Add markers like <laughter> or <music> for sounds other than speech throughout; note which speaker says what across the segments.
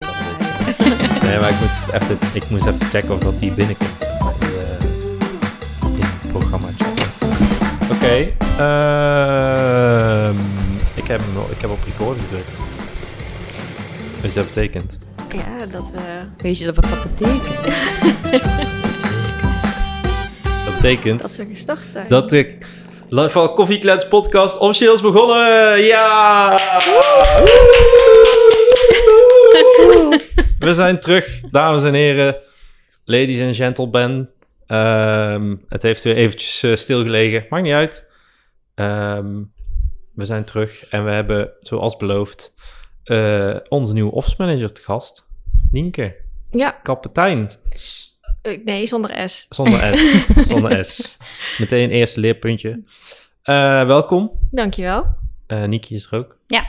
Speaker 1: <laughs> Nee, maar ik moet even, ik moest even checken of dat die binnenkomt. zeg maar, in, de- in het programma. Oké. ehm, ik, heb hem al- ik heb op record gedrukt. Weet je wat Dus dat betekent?
Speaker 2: Ja, dat we.
Speaker 3: Weet je dat wat dat betekent?
Speaker 1: Dat betekent
Speaker 2: Dat we gestart zijn.
Speaker 1: dat de Live van Coffee Klets podcast officieel is begonnen. Ja! We zijn terug, dames en heren. Ladies and gentlemen. Ehm, het heeft weer eventjes eh, stilgelegen. Maakt niet uit. Ehm, we zijn terug en we hebben, zoals beloofd, eh, onze nieuwe office manager te gast. Nienke,
Speaker 2: Ja,
Speaker 1: kapitein.
Speaker 2: eh, nee, zonder S.
Speaker 1: Zonder S. Zonder S. Meteen eerste leerpuntje. Eh, welkom.
Speaker 2: Dankjewel. Dus
Speaker 1: Eh Niki is er ook.
Speaker 3: Ja.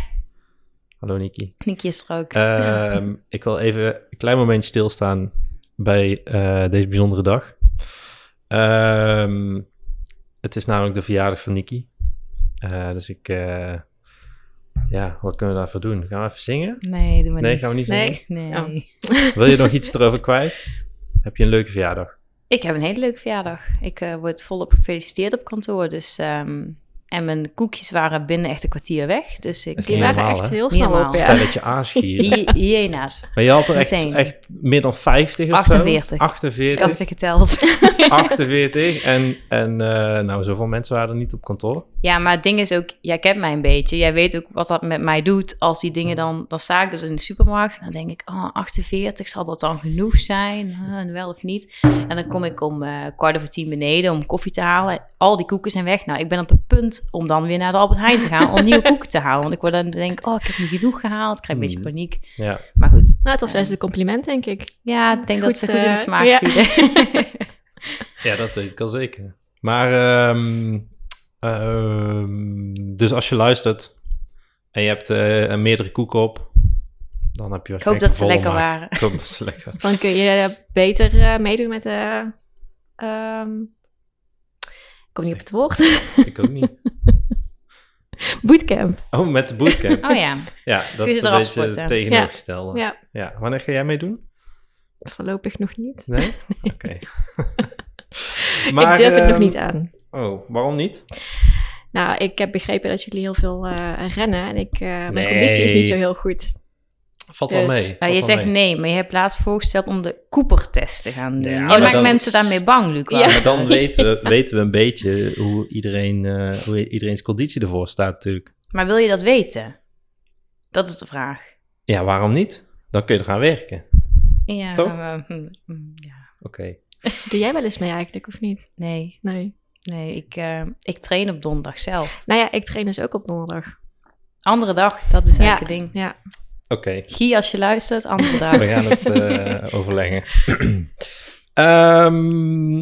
Speaker 1: Hallo Niki.
Speaker 3: Nicky is er ook.
Speaker 1: Ehm, ik wil even een klein momentje stilstaan bij eh, deze bijzondere dag. Ehm, het is namelijk de verjaardag van Niki. Eh, dus ik... eh, ja, wat kunnen we daarvoor doen? Gaan we even zingen?
Speaker 3: Nee, doen we
Speaker 1: Eh, Nee,
Speaker 3: niet.
Speaker 1: gaan we niet
Speaker 2: Nee.
Speaker 1: zingen.
Speaker 3: Nee.
Speaker 2: Oh.
Speaker 1: Wil je nog iets erover kwijt? Heb je een leuke verjaardag?
Speaker 3: Ik heb een hele leuke verjaardag. Ik eh, word volop gefeliciteerd op kantoor. Dus, ehm, en mijn koekjes waren binnen echt een kwartier weg. Dus ik...
Speaker 1: Is
Speaker 2: Die
Speaker 1: niet
Speaker 2: waren
Speaker 1: normaal,
Speaker 2: echt
Speaker 1: hè?
Speaker 2: heel snel op.
Speaker 3: normaal.
Speaker 2: Ja.
Speaker 1: Stelletje aanschieren.
Speaker 3: Hi- Hyena's.
Speaker 1: Maar je had er echt,
Speaker 3: Meteen.
Speaker 1: echt meer dan 50 of zo?
Speaker 3: 48.
Speaker 1: 48.
Speaker 3: Schattig geteld.
Speaker 1: 48. En, en eh, nou, zoveel mensen waren er niet op kantoor.
Speaker 3: Ja, maar het ding is ook, jij kent mij een beetje. Jij weet ook wat dat met mij doet. Als die dingen dan, dan sta ik dus in de supermarkt. En dan denk ik, oh, 48, zal dat dan genoeg zijn?
Speaker 1: <laughs>
Speaker 3: Huh, en wel of niet? En dan kom ik om eh, kwart over tien beneden om koffie te halen. Al die koeken zijn weg. Nou, ik ben op het punt om dan weer naar de Albert Heijn te gaan om
Speaker 1: <laughs>
Speaker 3: nieuwe koeken te halen. Want ik word dan denk, oh, ik heb niet genoeg gehaald. Ik krijg een beetje
Speaker 1: Mm.
Speaker 3: paniek.
Speaker 1: Ja.
Speaker 3: Maar goed,
Speaker 2: Nou, het was juist een compliment, denk ik.
Speaker 3: ja, ik denk
Speaker 2: Goed,
Speaker 3: dat ze goed in
Speaker 2: eh,
Speaker 3: de smaak
Speaker 2: ja.
Speaker 1: <laughs>
Speaker 3: vielen.
Speaker 1: ja, dat weet ik al zeker. Maar, ehm, ehm, dus als je luistert en je hebt eh, meerdere koeken op, dan heb je
Speaker 3: Ik
Speaker 1: waarschijnlijk
Speaker 3: hoop dat ze
Speaker 1: een volle
Speaker 3: lekker
Speaker 1: maag.
Speaker 3: waren.
Speaker 1: Ik hoop dat ze lekker
Speaker 2: Dan kun je eh, beter eh, meedoen met de. ehm, ik kom niet op het woord. <laughs>
Speaker 1: Ik ook niet.
Speaker 2: Bootcamp.
Speaker 1: Oh, met de
Speaker 3: <laughs>
Speaker 1: bootcamp.
Speaker 3: Oh ja,
Speaker 1: Ja, dat
Speaker 3: Kun je
Speaker 1: is
Speaker 3: ze
Speaker 1: een
Speaker 3: eraf
Speaker 1: beetje het
Speaker 3: sporten?
Speaker 1: tegenovergestelde. Ja.
Speaker 2: Ja,
Speaker 1: Wanneer ga jij meedoen?
Speaker 2: voorlopig nog niet.
Speaker 1: Nee? Oké.
Speaker 3: <laughs>
Speaker 1: <laughs>
Speaker 2: ik durf het nog
Speaker 1: ehm,
Speaker 2: niet aan.
Speaker 1: Oh, waarom niet?
Speaker 2: Nou, ik heb begrepen dat jullie heel veel eh, rennen en ik, eh,
Speaker 1: Nee.
Speaker 2: mijn conditie is niet zo heel goed.
Speaker 1: Valt wel
Speaker 2: Dus,
Speaker 1: mee.
Speaker 2: nou,
Speaker 3: Maar
Speaker 1: valt
Speaker 3: eh, je
Speaker 1: wel
Speaker 3: zegt
Speaker 1: mee.
Speaker 3: nee, maar je hebt laatst voorgesteld om de Cooper-test te gaan doen.
Speaker 1: Ja,
Speaker 3: je
Speaker 1: maar
Speaker 3: maakt
Speaker 1: dat-
Speaker 3: mensen daarmee bang, Luc.
Speaker 2: Ja.
Speaker 1: Maar
Speaker 3: <laughs>
Speaker 1: dan weten we, weten we een beetje hoe, iedereen, eh, hoe iedereen's conditie ervoor staat natuurlijk.
Speaker 3: Maar wil je dat weten? Dat is de vraag.
Speaker 1: Ja, waarom niet? Dan kun je eraan werken.
Speaker 3: Ja,
Speaker 1: Toch?
Speaker 3: maar, hm, hm, ja.
Speaker 1: Oké.
Speaker 2: Doe jij wel eens mee eigenlijk, of niet?
Speaker 3: Nee,
Speaker 2: Nee.
Speaker 3: nee ik, eh, ik train op donderdag zelf.
Speaker 2: Nou ja, ik train dus ook op donderdag.
Speaker 3: Andere dag, dat is eigenlijk het ding.
Speaker 2: Ja.
Speaker 1: Oké,
Speaker 3: Guy, als je luistert,
Speaker 1: <laughs>
Speaker 3: andere
Speaker 2: Ah.
Speaker 3: dag.
Speaker 1: we gaan het eh, overleggen. <clears throat> Ehm,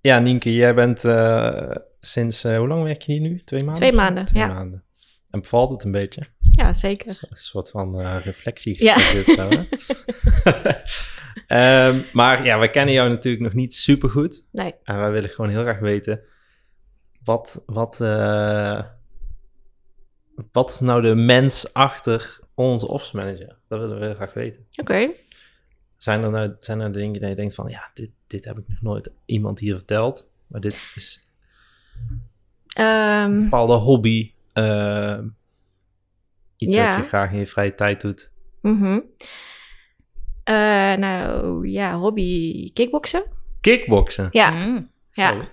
Speaker 1: ja, Nienke, jij bent eh, sinds... eh, hoe lang werk je hier nu? Twee maanden?
Speaker 2: Twee
Speaker 1: of zo?
Speaker 2: maanden,
Speaker 1: Twee
Speaker 2: ja.
Speaker 1: maanden. En bevalt het een beetje?
Speaker 2: Ja, zeker.
Speaker 1: Een soort van eh reflectie.
Speaker 2: Ja.
Speaker 1: dit zo, hè? <laughs> Ehm, maar ja, wij kennen jou natuurlijk nog niet supergoed.
Speaker 2: Nee.
Speaker 1: En wij willen gewoon heel graag weten... Wat, wat, eh, wat is nou de mens achter onze ops manager? Dat willen we heel graag weten.
Speaker 2: Oké.
Speaker 1: Zijn er nou zijn er dingen dat je denkt van... Ja, dit, dit heb ik nog nooit iemand hier verteld. Maar dit is
Speaker 2: Ehm,
Speaker 1: een bepaalde hobby. eh, iets
Speaker 2: Ja.
Speaker 1: wat je graag in je vrije tijd doet.
Speaker 2: mhm. Eh, nou ja, hobby kickboksen.
Speaker 1: Kickboksen.
Speaker 2: Ja,
Speaker 3: Mm.
Speaker 2: ja.
Speaker 1: Zo.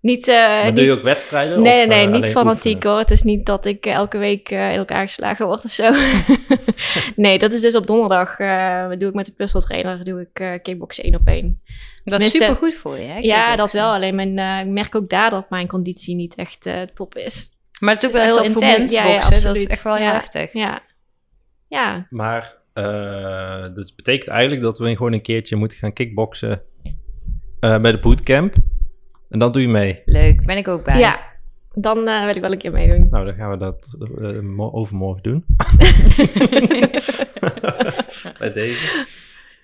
Speaker 2: Niet, eh,
Speaker 1: Maar
Speaker 2: niet,
Speaker 1: doe je ook wedstrijden?
Speaker 2: nee,
Speaker 1: of,
Speaker 2: nee,
Speaker 1: eh,
Speaker 2: niet
Speaker 1: alleen
Speaker 2: fanatiek
Speaker 1: oefenen?
Speaker 2: hoor. Het is niet dat ik eh, elke week eh, in elkaar geslagen word of zo.
Speaker 1: <laughs>
Speaker 2: nee, dat is dus op donderdag. eh, doe ik met de personal doe ik eh, kickboksen één op één.
Speaker 3: Dat is
Speaker 2: Tenminste-
Speaker 3: super goed voor je, hè?
Speaker 2: Ja,
Speaker 3: kickboksen.
Speaker 2: dat wel. Alleen mijn, eh, ik merk ook daar dat mijn conditie niet echt eh, top is.
Speaker 3: Maar het is ook
Speaker 2: Het is
Speaker 3: wel heel
Speaker 2: echt wel vermoeiend.
Speaker 3: intens,
Speaker 2: Ja, ja,
Speaker 3: boksen. dat is
Speaker 2: absoluut.
Speaker 3: echt wel heel
Speaker 2: Ja.
Speaker 3: heftig.
Speaker 2: Ja. Ja,
Speaker 1: Maar eh dat betekent eigenlijk dat we gewoon een keertje moeten gaan kickboksen eh, bij de bootcamp. En dan doe je mee.
Speaker 3: Leuk, ben ik ook bij. <laughs>
Speaker 2: ja. Dan eh, wil ik wel een keer meedoen.
Speaker 1: Nou, dan gaan we dat eh, mo- overmorgen doen. <laughs> bij deze.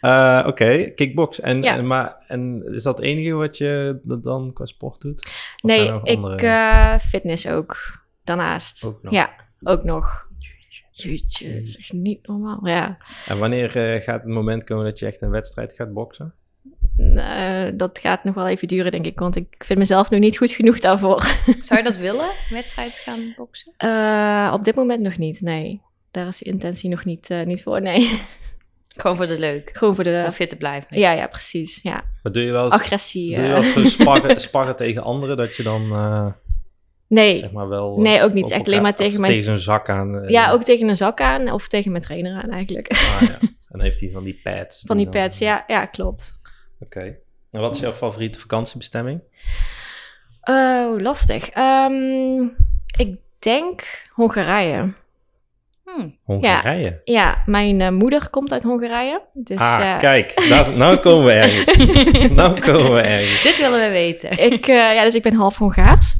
Speaker 1: Eh, Oké, kickbox. En,
Speaker 2: Ja.
Speaker 1: en, maar, en is dat het enige wat je d- dan qua sport doet? Of
Speaker 2: Nee,
Speaker 1: zijn er nog
Speaker 2: ik
Speaker 1: andere-
Speaker 2: eh, fitness ook. Daarnaast.
Speaker 1: Ook nog.
Speaker 2: Ja, ook nog. Jeetje, het is echt niet normaal. Ja,
Speaker 1: En wanneer eh, gaat het moment komen dat je echt een wedstrijd gaat boksen?
Speaker 2: eh, dat gaat nog wel even duren, denk ik. Want ik vind mezelf nog niet goed genoeg daarvoor. <laughs>
Speaker 3: Zou je dat willen? Wedstrijd gaan boksen?
Speaker 2: Eh, op dit moment nog niet, nee. Daar is de intentie nog niet, eh, niet voor, nee. <laughs>
Speaker 3: Gewoon voor de leuk.
Speaker 2: Gewoon voor de...
Speaker 3: Om fit te blijven.
Speaker 2: Ja, ja, precies. Ja.
Speaker 1: Maar doe je wel eens,
Speaker 2: Agressie.
Speaker 1: doe je
Speaker 2: eh.
Speaker 1: wel eens zo'n sparren, sparren tegen anderen dat je dan eh,
Speaker 2: <laughs> Nee,
Speaker 1: zeg maar wel... eh,
Speaker 2: nee,
Speaker 1: op
Speaker 2: ook niet. Het is echt
Speaker 1: elkaar-
Speaker 2: alleen maar
Speaker 1: of
Speaker 2: tegen mijn...
Speaker 1: Tegen zo'n zak aan. eh,
Speaker 2: Ja, ook tegen een zak aan of tegen mijn trainer aan eigenlijk. <laughs>
Speaker 1: ah, ja. En dan heeft hij van die pads.
Speaker 2: Van die
Speaker 1: dan-
Speaker 2: pads, ja, ja klopt.
Speaker 1: Oké. En wat is jouw favoriete vakantiebestemming?
Speaker 2: Oh, lastig. Ehm, ik denk Hongarije.
Speaker 3: Hm.
Speaker 1: Hongarije.
Speaker 2: Ja, mijn eh, moeder komt uit Hongarije. Dus
Speaker 1: ah,
Speaker 2: eh,
Speaker 1: kijk, daar, is- nou komen we ergens. nou komen we ergens.
Speaker 3: Dit willen we weten.
Speaker 2: <laughs> ik, eh, ja, dus ik ben half Hongaars.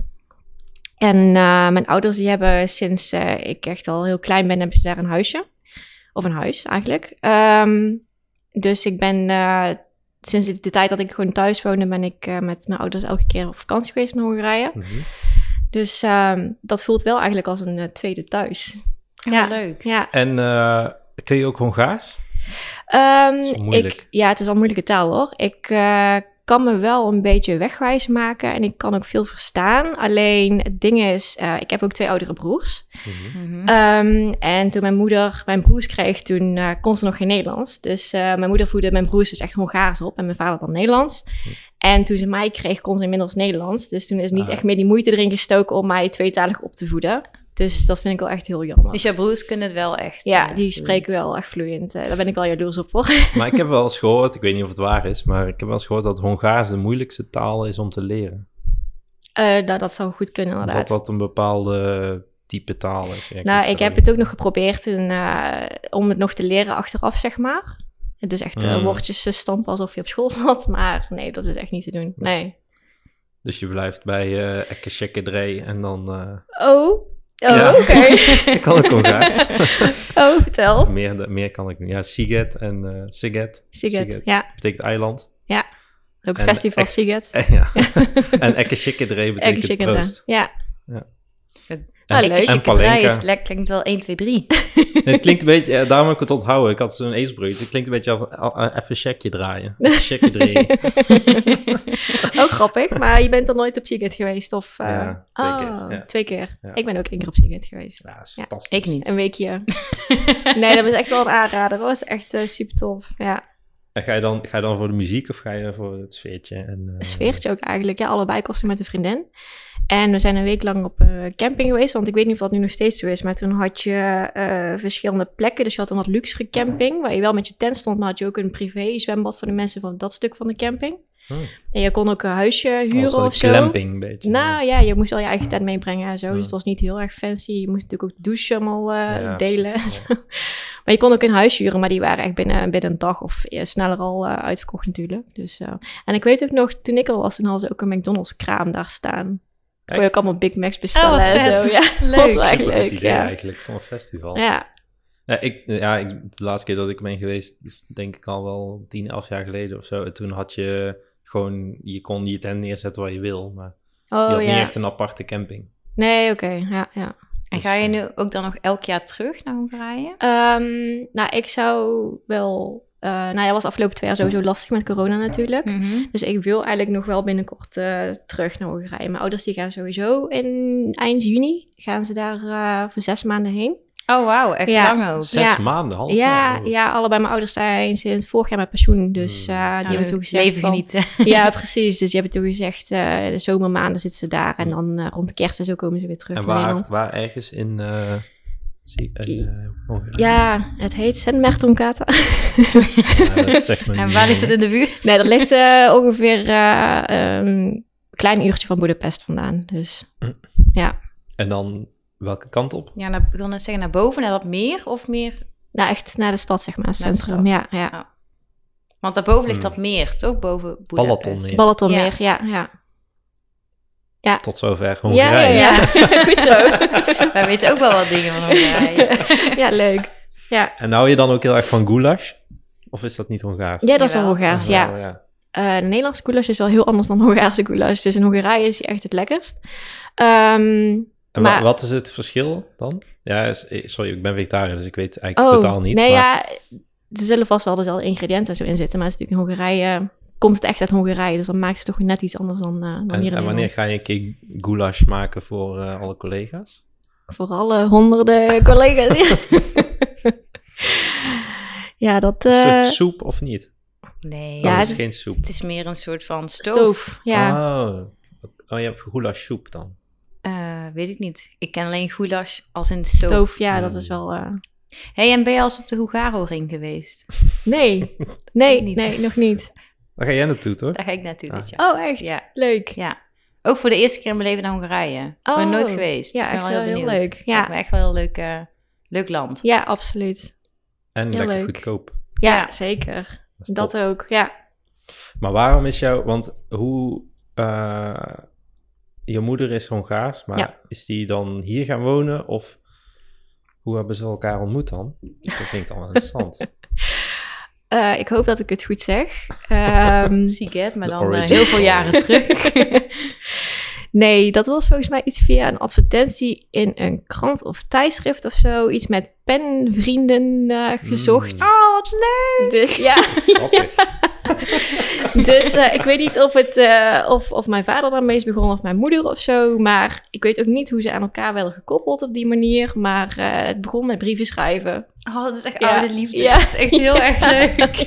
Speaker 2: En eh, mijn ouders die hebben sinds eh, ik echt al heel klein ben, hebben ze daar een huisje. Of een huis eigenlijk. Ehm, dus ik ben eh, sinds de, de tijd dat ik gewoon thuis woonde, ben ik eh, met mijn ouders elke keer op vakantie geweest in Hongarije.
Speaker 1: Mhm.
Speaker 2: Dus ehm, dat voelt wel eigenlijk als een eh, tweede thuis.
Speaker 3: Ja.
Speaker 2: Ja,
Speaker 3: Leuk.
Speaker 2: ja.
Speaker 1: En eh, kun je ook Hongaars?
Speaker 2: Ehm,
Speaker 1: is wel moeilijk.
Speaker 2: Ik, ja, het is wel een moeilijke taal hoor. Ik eh, kan me wel een beetje wegwijs maken en ik kan ook veel verstaan. Alleen het ding is, eh, ik heb ook twee oudere broers.
Speaker 3: Mhm.
Speaker 2: Ehm, en toen mijn moeder mijn broers kreeg, toen eh, kon ze nog geen Nederlands. Dus eh, mijn moeder voedde mijn broers dus echt Hongaars op en mijn vader dan Nederlands. En toen ze mij kreeg, kon ze inmiddels Nederlands. Dus toen is niet
Speaker 1: Ah.
Speaker 2: echt meer die moeite erin gestoken om mij tweetalig op te voeden. Dus dat vind ik wel echt heel jammer.
Speaker 3: Dus jouw broers kunnen het wel echt.
Speaker 2: ja,
Speaker 3: eh,
Speaker 2: die
Speaker 3: vloeiend.
Speaker 2: spreken wel echt vloeiend. Eh, daar ben ik wel jaloers op hoor.
Speaker 1: Maar ik heb wel eens gehoord, ik weet niet of het waar is, maar ik heb wel eens gehoord dat Hongaars de moeilijkste taal is om te leren.
Speaker 2: Eh, nou, dat zou goed kunnen,
Speaker 1: Omdat
Speaker 2: inderdaad.
Speaker 1: dat een bepaalde type taal is. Ja, ik weet
Speaker 2: nou, ik
Speaker 1: verder
Speaker 2: heb het ook
Speaker 1: niet.
Speaker 2: nog geprobeerd toen, eh, om het nog te leren achteraf, zeg maar. Dus echt eh,
Speaker 1: Mm.
Speaker 2: woordjes eh, stampen alsof je op school <laughs> zat. Maar nee, dat is echt niet te doen. Nee.
Speaker 1: Dus je blijft bij eh Ekke Shekke Dree en dan... eh,
Speaker 2: Oh. Oh,
Speaker 1: Ja.
Speaker 2: oké.
Speaker 1: <laughs> ik kan ook Hongaars.
Speaker 2: <laughs> oh, vertel.
Speaker 1: meer, meer kan ik niet. Ja, Siget en eh Siget.
Speaker 2: Siget. Ja,
Speaker 1: Betekent eiland. <laughs>
Speaker 2: ook
Speaker 1: En
Speaker 2: festival
Speaker 1: ex-
Speaker 2: Siget.
Speaker 1: En, ja. <laughs> en Ekke Shekke Dree betekent
Speaker 2: Egg chicken.
Speaker 1: proost.
Speaker 2: Ja.
Speaker 1: En,
Speaker 2: leuk.
Speaker 1: en
Speaker 3: En
Speaker 1: Palenka.
Speaker 3: Is, lek- klinkt wel 1, 2, 3.
Speaker 1: Nee, het klinkt een beetje, eh, daarom heb ik het onthouden. Ik had zo'n acebreut. Het klinkt een beetje af, a- a- even checkje
Speaker 2: <laughs>
Speaker 1: draaien. Even checkje draaien.
Speaker 2: Ook grappig, maar je bent al nooit op Siget geweest? Of, eh,
Speaker 1: Ja, twee keer,
Speaker 2: oh,
Speaker 1: ja.
Speaker 2: twee keer.
Speaker 1: Ja.
Speaker 2: Ik ben ook één keer op Siget geweest.
Speaker 1: Ja, dat is
Speaker 2: Ja,
Speaker 1: fantastisch.
Speaker 3: Ik niet.
Speaker 2: Een weekje. nee, dat was echt wel een aanrader. Dat was echt eh, super tof. Ja.
Speaker 1: En ga je, dan, ga je dan voor de muziek of ga je voor het sfeertje? En, eh,
Speaker 2: een sfeertje ook eigenlijk. Ja, allebei kosten met een vriendin. En we zijn een week lang op eh, camping geweest, want ik weet niet of dat nu nog steeds zo is. Maar toen had je eh, verschillende plekken. Dus je had een wat luxere camping, waar je wel met je tent stond, maar had je ook een privé zwembad voor de mensen van dat stuk van de camping.
Speaker 1: hmm,
Speaker 2: En je kon ook een huisje
Speaker 1: als
Speaker 2: huren
Speaker 1: een
Speaker 2: of zo.
Speaker 1: glamping een beetje.
Speaker 2: Nou ja, je moest wel je eigen tent meebrengen en zo. Dus
Speaker 1: Ja.
Speaker 2: het was niet heel erg fancy. Je moest natuurlijk ook de douche allemaal eh,
Speaker 1: Ja,
Speaker 2: delen. en
Speaker 1: precies,
Speaker 2: zo. <laughs> Maar je kon ook een huis huren, maar die waren echt binnen, binnen een dag of eh, sneller al eh, uitverkocht natuurlijk. Dus, eh, en ik weet ook nog, toen ik al was, toen hadden ze ook een McDonald's kraam daar staan. Kon je ook
Speaker 1: Echt?
Speaker 2: allemaal Big Macs bestellen
Speaker 3: Oh, wat
Speaker 2: en
Speaker 3: vet.
Speaker 2: nou
Speaker 1: <laughs>
Speaker 2: zo. Ja, was wel
Speaker 3: Leuk.
Speaker 1: Super
Speaker 2: echt
Speaker 1: goed
Speaker 2: <laughs> leuk.
Speaker 1: idee
Speaker 2: ja.
Speaker 1: eigenlijk voor een festival.
Speaker 2: Ja.
Speaker 1: Ja, ik, ja ik, de laatste keer dat ik ben geweest, is denk ik al wel 10, 11 jaar geleden of zo. En toen had je gewoon, je kon je tent neerzetten waar je wil. Maar je
Speaker 2: Oh
Speaker 1: had niet
Speaker 2: ja.
Speaker 1: echt een aparte camping. Dus
Speaker 2: Nee, oké. Ja, ja.
Speaker 3: En ga je nu ook dan nog elk jaar terug naar Hongarije?
Speaker 2: Ehm, nou, ik zou wel... eh, nou ja, was afgelopen twee jaar sowieso lastig met corona natuurlijk. Dus ik wil eigenlijk nog wel binnenkort eh, terug naar Hongarije. Mijn ouders die gaan sowieso in eind juni gaan ze daar eh, voor zes maanden heen.
Speaker 3: Oh, wauw. Echt
Speaker 2: Ja.
Speaker 3: lang ook.
Speaker 1: Zes
Speaker 2: Ja.
Speaker 1: maanden, half
Speaker 2: Ja,
Speaker 1: jaar.
Speaker 2: ja, allebei mijn ouders zijn sinds vorig jaar met pensioen. Dus
Speaker 1: Hmm.
Speaker 2: eh, die hebben toen gezegd...
Speaker 3: Leven
Speaker 2: van-
Speaker 3: genieten.
Speaker 2: Ja, precies. Dus die hebben toen gezegd, eh, de zomermaanden zitten ze daar. En
Speaker 3: Hmm.
Speaker 2: dan eh, rond kerst en zo komen ze weer terug
Speaker 1: En
Speaker 2: naar
Speaker 1: waar,
Speaker 2: Nederland.
Speaker 1: waar ergens in. eh, zie- in, eh, Hongarije.
Speaker 2: Ja, het heet Sint Mertonkata.
Speaker 1: Ja, dat zegt me
Speaker 3: <laughs> En
Speaker 1: niet
Speaker 3: waar
Speaker 1: meer.
Speaker 3: ligt
Speaker 1: <laughs>
Speaker 3: het in de buurt?
Speaker 2: <laughs>
Speaker 3: <laughs>
Speaker 2: nee, dat ligt eh, ongeveer eh, een klein uurtje van Boedapest vandaan. Dus
Speaker 1: En dan welke kant op?
Speaker 3: Ja, naar, ik wil net zeggen, naar boven, naar dat meer of meer?
Speaker 2: nou, echt naar de stad, zeg maar,
Speaker 3: Naar de
Speaker 2: centrum. Ja,
Speaker 3: stad.
Speaker 2: ja.
Speaker 3: Want daarboven ligt
Speaker 1: Hmm.
Speaker 3: dat meer, toch? Boven Boedapest.
Speaker 1: Balatonmeer.
Speaker 2: Balatonmeer, ja, ja.
Speaker 1: Tot zover
Speaker 2: Ja, ja,
Speaker 1: Hongarije.
Speaker 2: ja. <laughs> Goed zo.
Speaker 3: <laughs> Wij weten ook wel wat dingen van Hongarije.
Speaker 2: ja, leuk. Ja,
Speaker 1: En hou je dan ook heel erg van goulash? Of is dat niet Hongaars?
Speaker 2: ja dat is wel
Speaker 3: Jawel, dat is
Speaker 2: Hongaars,
Speaker 1: Wel,
Speaker 2: ja. Eh, de Nederlandse goulash is wel heel anders dan Hongaarse goulash. Dus in Hongarije is die echt het lekkerst. Ehm,
Speaker 1: En wa-
Speaker 2: Maar-
Speaker 1: wat is het verschil dan? Ja, s- eh, sorry, ik ben vegetariër, dus ik weet eigenlijk
Speaker 2: Oh,
Speaker 1: totaal niet.
Speaker 2: nee,
Speaker 1: maar
Speaker 2: ja, er zullen vast wel dezelfde ingrediënten zo in zitten, maar het is natuurlijk in Hongarije, komt het echt uit Hongarije, dus dan maken ze toch net iets anders dan, eh dan
Speaker 1: en,
Speaker 2: hier in
Speaker 1: en wanneer
Speaker 2: Nederland.
Speaker 1: ga je een keer goulash maken voor eh, alle collega's?
Speaker 2: Voor alle
Speaker 1: <laughs>
Speaker 2: honderden collega's. hier. ja, dat... eh,
Speaker 1: Is het soep of niet?
Speaker 3: Nee,
Speaker 2: Ja,
Speaker 1: Ja,
Speaker 2: het
Speaker 1: het
Speaker 2: is-
Speaker 1: is geen soep.
Speaker 3: het is meer een soort van stoof.
Speaker 2: stoof. Ja,
Speaker 1: Oh. oh, je hebt goulash soep dan.
Speaker 3: Eh, weet ik niet. Ik ken alleen goulash als in stoof.
Speaker 2: stoof, ja, dat
Speaker 1: Mm.
Speaker 2: is wel... eh,
Speaker 3: hey, en ben je al eens op de Hugaro-ring
Speaker 1: <laughs>
Speaker 3: geweest?
Speaker 2: Nee, nee,
Speaker 3: Niet.
Speaker 2: nee, nog niet.
Speaker 1: Daar ga jij naartoe, toch?
Speaker 3: Daar ga ik naartoe dit
Speaker 1: Ah.
Speaker 3: jaar.
Speaker 2: Oh, echt?
Speaker 3: Ja.
Speaker 2: Leuk.
Speaker 3: Ja. Ook voor de eerste keer in mijn leven naar Hongarije. Ik ben
Speaker 2: Oh.
Speaker 3: nooit geweest. dus
Speaker 2: Ja,
Speaker 3: ik ben
Speaker 2: echt
Speaker 3: wel
Speaker 2: wel
Speaker 3: heel
Speaker 2: heel
Speaker 3: benieuwd.
Speaker 2: leuk. Ja.
Speaker 3: Ik ben echt wel een leuk, eh, leuk land.
Speaker 2: Ja, absoluut.
Speaker 1: En
Speaker 2: Heel
Speaker 1: lekker
Speaker 2: leuk.
Speaker 1: goedkoop.
Speaker 2: Ja,
Speaker 3: Ja.
Speaker 2: zeker.
Speaker 1: Dat is
Speaker 2: Dat
Speaker 1: top.
Speaker 2: ook, ja.
Speaker 1: Maar waarom is jouw... Want hoe... eh, je moeder is Hongaars, maar
Speaker 2: Ja.
Speaker 1: is die dan hier gaan wonen? Of hoe hebben ze elkaar ontmoet dan?
Speaker 2: <laughs>
Speaker 1: Dat vind ik dan wel interessant.
Speaker 2: Eh, ik hoop dat ik het goed zeg. <laughs> Ehm,
Speaker 3: Ziek, hè? Maar
Speaker 1: De
Speaker 3: dan eh,
Speaker 1: origin
Speaker 3: heel veel
Speaker 1: story.
Speaker 3: jaren terug.
Speaker 2: nee, dat was volgens mij iets via een advertentie in een krant of tijdschrift of zo. Iets met penvrienden eh, gezocht.
Speaker 1: Mm.
Speaker 3: <laughs> oh, wat leuk!
Speaker 2: Dus ja, <laughs>
Speaker 1: Grappig.
Speaker 2: dus eh, ik weet niet of, het, eh, of, of mijn vader daarmee is begonnen of mijn moeder of zo. Maar ik weet ook niet hoe ze aan elkaar werden gekoppeld op die manier. Maar eh, het begon met brieven schrijven.
Speaker 3: Oh, dat is echt
Speaker 2: Ja.
Speaker 3: oude liefde.
Speaker 2: Ja.
Speaker 3: Dat is echt <laughs> heel erg leuk.
Speaker 2: <laughs>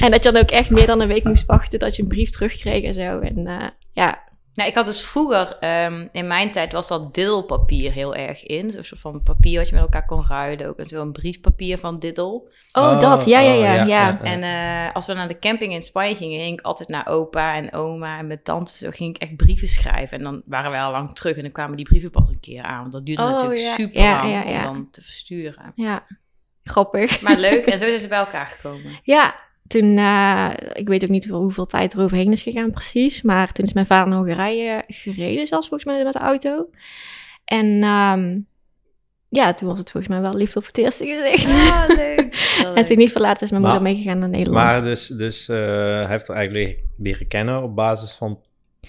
Speaker 2: En dat je dan ook echt meer dan een week moest wachten dat je een brief terugkreeg en zo. En eh, ja,
Speaker 3: Nou, ik had dus vroeger, ehm, in mijn tijd was dat deelpapier heel erg in. Zo'n soort van papier wat je met elkaar kon ruilen. Ook en zo'n briefpapier van Diddel.
Speaker 2: oh, dat, ja, ja, ja, ja.
Speaker 3: En eh, als we naar de camping in Spanje gingen, ging ik altijd naar opa en oma en mijn tante. Zo ging ik echt brieven schrijven. En dan waren wij al lang terug en dan kwamen die brieven pas een keer aan. Want dat duurde
Speaker 2: Oh,
Speaker 3: natuurlijk
Speaker 2: ja.
Speaker 3: super
Speaker 2: Ja,
Speaker 3: lang
Speaker 2: ja, ja.
Speaker 3: om dan te versturen.
Speaker 2: Ja, grappig.
Speaker 3: Maar leuk, en zo zijn ze bij elkaar
Speaker 2: <laughs>
Speaker 3: gekomen.
Speaker 2: Ja, toen, eh, ik weet ook niet hoe- hoeveel tijd er overheen is gegaan precies, maar toen is mijn vader naar Hongarije gereden, zelfs volgens mij met de auto. En ehm, ja, toen was het volgens mij wel liefde op het eerste gezicht. <laughs>
Speaker 3: leuk.
Speaker 2: en toen niet verlaten is mijn
Speaker 1: Maar-
Speaker 2: moeder meegegaan naar Nederland.
Speaker 1: Maar dus, dus eh, hij heeft haar eigenlijk leren- leren kennen op basis van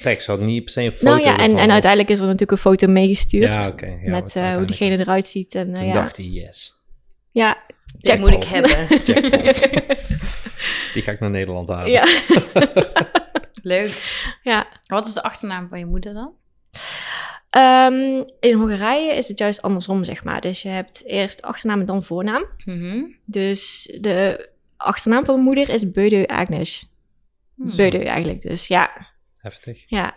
Speaker 1: tekst. Ze had niet per se een foto
Speaker 2: nou ja, en,
Speaker 1: ervan.
Speaker 2: en uiteindelijk is er natuurlijk een foto meegestuurd
Speaker 1: Ja, oké, ja, want
Speaker 2: met eh, hoe
Speaker 1: uiteindelijk-
Speaker 2: diegene eruit ziet. En, eh,
Speaker 1: Toen
Speaker 2: ja.
Speaker 1: dacht hij, yes,
Speaker 2: ja,
Speaker 3: Dit moet ik
Speaker 1: Jackpot.
Speaker 2: <laughs>
Speaker 3: hebben.
Speaker 1: jackpot. Die ga ik naar Nederland halen.
Speaker 2: ja,
Speaker 3: Leuk.
Speaker 2: <laughs> ja.
Speaker 3: Wat is de achternaam van je moeder dan?
Speaker 2: Ehm, in Hongarije is het juist andersom, zeg maar. Dus je hebt eerst achternaam en dan voornaam.
Speaker 3: Mhm.
Speaker 2: Dus de achternaam van mijn moeder is Beudeu Agnes.
Speaker 3: Hmm.
Speaker 2: Beudeu eigenlijk, dus
Speaker 3: <laughs>
Speaker 2: ja.
Speaker 1: Heftig.
Speaker 2: ja.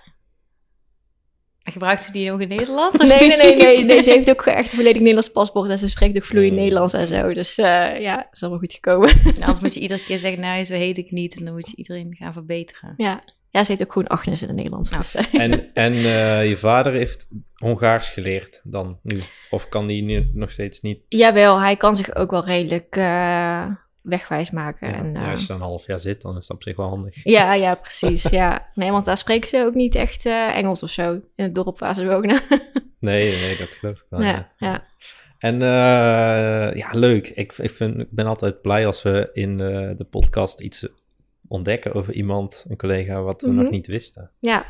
Speaker 3: Gebruikt ze die ook in Nederland? of
Speaker 2: Nee, nee,
Speaker 3: niet?
Speaker 2: nee,
Speaker 3: <laughs>
Speaker 2: nee, nee, Ze heeft ook echt een volledig Nederlands paspoort en ze spreekt ook vloeiend
Speaker 1: Hmm.
Speaker 2: Nederlands en zo. Dus eh, ja, het is allemaal goed gekomen. <laughs>
Speaker 3: Nou, anders moet je iedere keer zeggen, nou, zo heet ik niet. En dan moet je iedereen gaan verbeteren.
Speaker 2: Ja, ja ze heet ook gewoon Agnes in het Nederlands.
Speaker 3: Nou.
Speaker 2: Dus, eh, <laughs>
Speaker 1: En, en eh, je vader heeft Hongaars geleerd dan nu? Of kan die nu nog steeds niet?
Speaker 2: jawel, hij kan zich ook wel redelijk eh, wegwijs maken.
Speaker 1: Ja,
Speaker 2: en, eh,
Speaker 1: ja, als je dan een half jaar zit, dan is dat op zich wel handig.
Speaker 2: Ja, ja, precies. Ja. Nee, want daar spreken ze ook niet echt eh, Engels of zo. In het dorp waar ze wonen.
Speaker 1: Nee, nee, dat geloof ik wel.
Speaker 2: ja, ja.
Speaker 1: En eh, ja, leuk. Ik, ik, vind, ik ben altijd blij als we in eh, de podcast iets ontdekken over iemand, een collega, wat we
Speaker 2: Mhm.
Speaker 1: nog niet wisten.
Speaker 2: ja.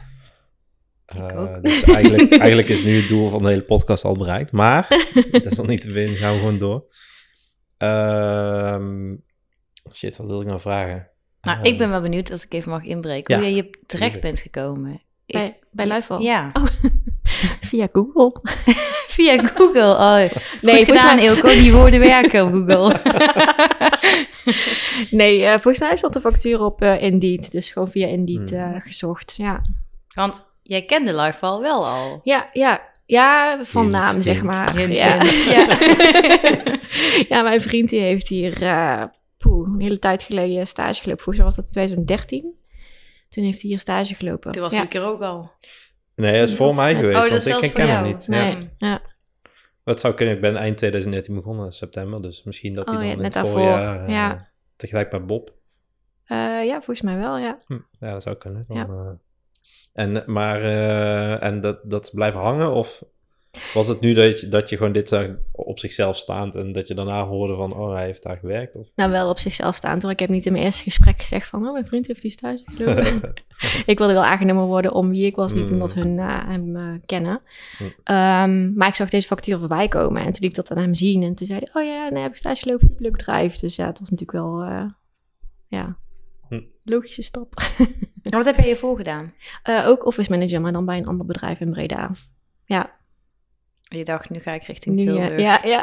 Speaker 1: Eh,
Speaker 3: ook.
Speaker 1: Dus
Speaker 3: <laughs>
Speaker 1: eigenlijk, eigenlijk is nu het doel van de hele podcast al bereikt. Maar desalniettemin gaan we gewoon door. Ehm, shit, wat wilde ik nou vragen?
Speaker 3: Nou,
Speaker 1: Ah,
Speaker 3: ik ben wel benieuwd, als ik even mag inbreken,
Speaker 1: Ja,
Speaker 3: hoe jij je terecht
Speaker 1: tuurlijk.
Speaker 3: bent gekomen. Ik-
Speaker 2: Bij, bij Luifel.
Speaker 3: <laughs> Ja,
Speaker 2: Via Google.
Speaker 3: <laughs> via Google. Oh, nee,
Speaker 2: volgens
Speaker 3: goed gedaan,
Speaker 2: mij-
Speaker 3: Ilko. Die woorden werken op <laughs> Google.
Speaker 2: Nee, eh, volgens mij stond de factuur op eh, Indeed. Dus gewoon via Indeed
Speaker 1: Hmm.
Speaker 2: eh, gezocht. Ja,
Speaker 3: Want jij kende Lifeval wel al.
Speaker 2: ja, ja. Ja, van
Speaker 1: Hint,
Speaker 2: naam, zeg
Speaker 1: hint,
Speaker 2: maar.
Speaker 3: hint,
Speaker 2: ja.
Speaker 3: <laughs> hint.
Speaker 2: Ja. <laughs> ja, mijn vriend die heeft hier eh, poeh, een hele tijd geleden stage gelopen. Volgens mij was dat in 2013. Toen heeft hij hier stage gelopen.
Speaker 3: Toen was
Speaker 2: ja.
Speaker 3: ik er ook al.
Speaker 1: Nee, hij is voor mij geweest,
Speaker 3: Oh, dat is
Speaker 1: want
Speaker 3: zelfs
Speaker 1: ik
Speaker 3: voor
Speaker 1: ken hem
Speaker 3: jou.
Speaker 1: niet. Ja.
Speaker 2: Nee,
Speaker 3: Ja.
Speaker 2: ja.
Speaker 1: Wat zou kunnen, ik ben eind 2013 begonnen, in september. Dus misschien dat hij
Speaker 2: Oh,
Speaker 1: dan
Speaker 2: ja,
Speaker 1: in
Speaker 2: net
Speaker 1: het
Speaker 2: daarvoor,
Speaker 1: voorjaar... eh,
Speaker 2: ja.
Speaker 1: Tegelijk bij Bob.
Speaker 2: Eh, ja, volgens mij wel, ja.
Speaker 1: Hm, ja, dat zou kunnen. Dan,
Speaker 2: Ja.
Speaker 1: eh, en, maar, eh, en dat, dat blijven hangen of Was het nu dat je, dat je gewoon dit zag op zichzelf staand en dat je daarna hoorde van, oh, hij heeft daar gewerkt? Of...
Speaker 2: Nou, wel op zichzelf staand hoor. Ik heb niet in mijn eerste gesprek gezegd van, oh, mijn vriend heeft iets stage
Speaker 1: <laughs>
Speaker 2: gelopen. ik wilde wel aangenomen worden om wie ik was, niet
Speaker 1: Mm.
Speaker 2: omdat hun eh, hem eh, kennen.
Speaker 1: Mm.
Speaker 2: Ehm, maar ik zag deze factuur voorbij komen en toen liet ik dat aan hem zien. En toen zei hij, oh ja, nee, heb ik stage gelopen, superleuk bedrijf. Dus ja, het was natuurlijk wel, eh, ja,
Speaker 1: Mm.
Speaker 2: logische stap.
Speaker 3: En wat heb jij hiervoor gedaan?
Speaker 2: Eh, ook office manager, maar dan bij een ander bedrijf in Breda. Ja,
Speaker 3: Je dacht, nu ga ik richting
Speaker 2: nu, eh,
Speaker 3: Tilburg.
Speaker 2: ja,
Speaker 1: <laughs>
Speaker 2: ja.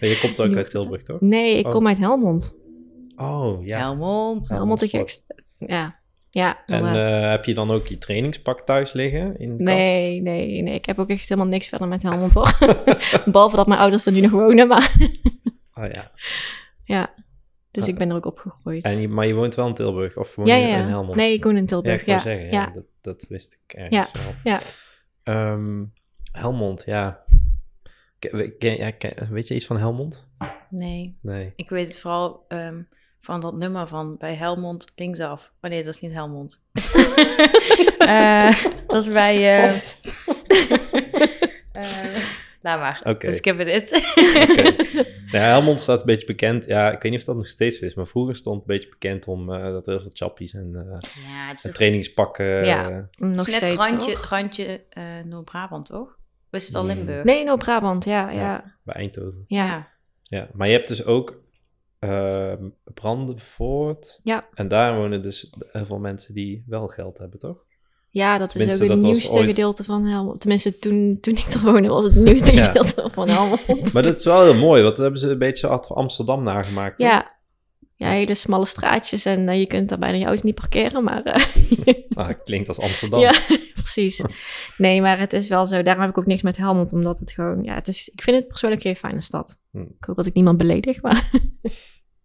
Speaker 1: En je komt ook
Speaker 2: Nu
Speaker 1: uit
Speaker 2: komt
Speaker 1: Tilburg, toch?
Speaker 2: nee, ik kom
Speaker 1: Oh.
Speaker 2: uit Helmond.
Speaker 1: Oh, ja.
Speaker 2: Helmond
Speaker 3: Helmond.
Speaker 2: de
Speaker 1: Helmond, wat.
Speaker 2: gekste. Ja, ja,
Speaker 1: En
Speaker 2: inderdaad.
Speaker 1: eh, heb je dan ook je trainingspak thuis liggen in de
Speaker 2: Nee, nee, nee. Ik heb ook echt helemaal niks verder met Helmond, hoor. <laughs> Behalve dat mijn ouders er nu nog wonen, maar...
Speaker 1: kast? Oh ja.
Speaker 2: Dus
Speaker 1: Ah.
Speaker 2: ik ben er ook opgegroeid.
Speaker 1: En je, maar je woont wel in Tilburg of woon
Speaker 2: ja,
Speaker 1: je
Speaker 2: ja.
Speaker 1: in Helmond?
Speaker 2: Nee, ik woon in
Speaker 1: Ja, ik
Speaker 2: Tilburg,
Speaker 1: wou
Speaker 2: ja.
Speaker 1: zeggen, ja,
Speaker 2: ja.
Speaker 1: Dat, dat wist ik ergens wel.
Speaker 2: ja.
Speaker 1: Ehm, Helmond, ja. Ken- ken- ja, ken- weet je iets van Helmond?
Speaker 3: Nee,
Speaker 1: Nee.
Speaker 3: ik weet het vooral ehm, van dat nummer van bij Helmond linksaf. Oh nee, dat is niet Helmond. <laughs> Eh, dat is bij... eh, eh, laat maar.
Speaker 1: Oké.
Speaker 3: We skippen dit.
Speaker 1: Nou, Helmond staat een beetje bekend. Ja, ik weet niet of dat nog steeds zo is, maar vroeger stond het een beetje bekend om eh, dat er heel veel chappies en eh,
Speaker 3: <laughs> Ja, het is toch
Speaker 1: trainingspakken.
Speaker 3: Ja.
Speaker 1: eh,
Speaker 2: Mm, Nog
Speaker 3: net
Speaker 2: steeds,
Speaker 3: randje,
Speaker 2: hoor.
Speaker 3: randje eh, Noord-Brabant, toch? Of is het al
Speaker 1: Mm.
Speaker 3: Limburg?
Speaker 2: Nee, Noord-Brabant, ja, ja, ja.
Speaker 1: bij Eindhoven.
Speaker 2: ja.
Speaker 1: Ja, maar je hebt dus ook ehm Brandenvoort.
Speaker 2: Ja.
Speaker 1: En daar wonen dus heel veel mensen die wel geld hebben, toch?
Speaker 2: dat
Speaker 1: Tenminste,
Speaker 2: is ook
Speaker 1: dat
Speaker 2: het
Speaker 1: was
Speaker 2: nieuwste
Speaker 1: ooit-
Speaker 2: gedeelte van Helmond. Tenminste, toen, toen ik er woonde was het nieuwste
Speaker 1: <laughs> Ja.
Speaker 2: gedeelte van Helmond.
Speaker 1: Maar dat is wel heel mooi, want dat hebben ze een beetje zo Amsterdam nagemaakt. toch?
Speaker 2: Ja. ja, hele smalle straatjes en eh, je kunt daar bijna je auto niet parkeren, maar... eh,
Speaker 1: Ah, klinkt als Amsterdam.
Speaker 2: Ja, <laughs> precies. Nee, maar het is wel zo. Daarom heb ik ook niks met Helmond, omdat het gewoon... Ja, het is, ik vind het persoonlijk geen fijne stad.
Speaker 1: Hm.
Speaker 2: Ik hoop dat ik niemand beledig, maar... <laughs>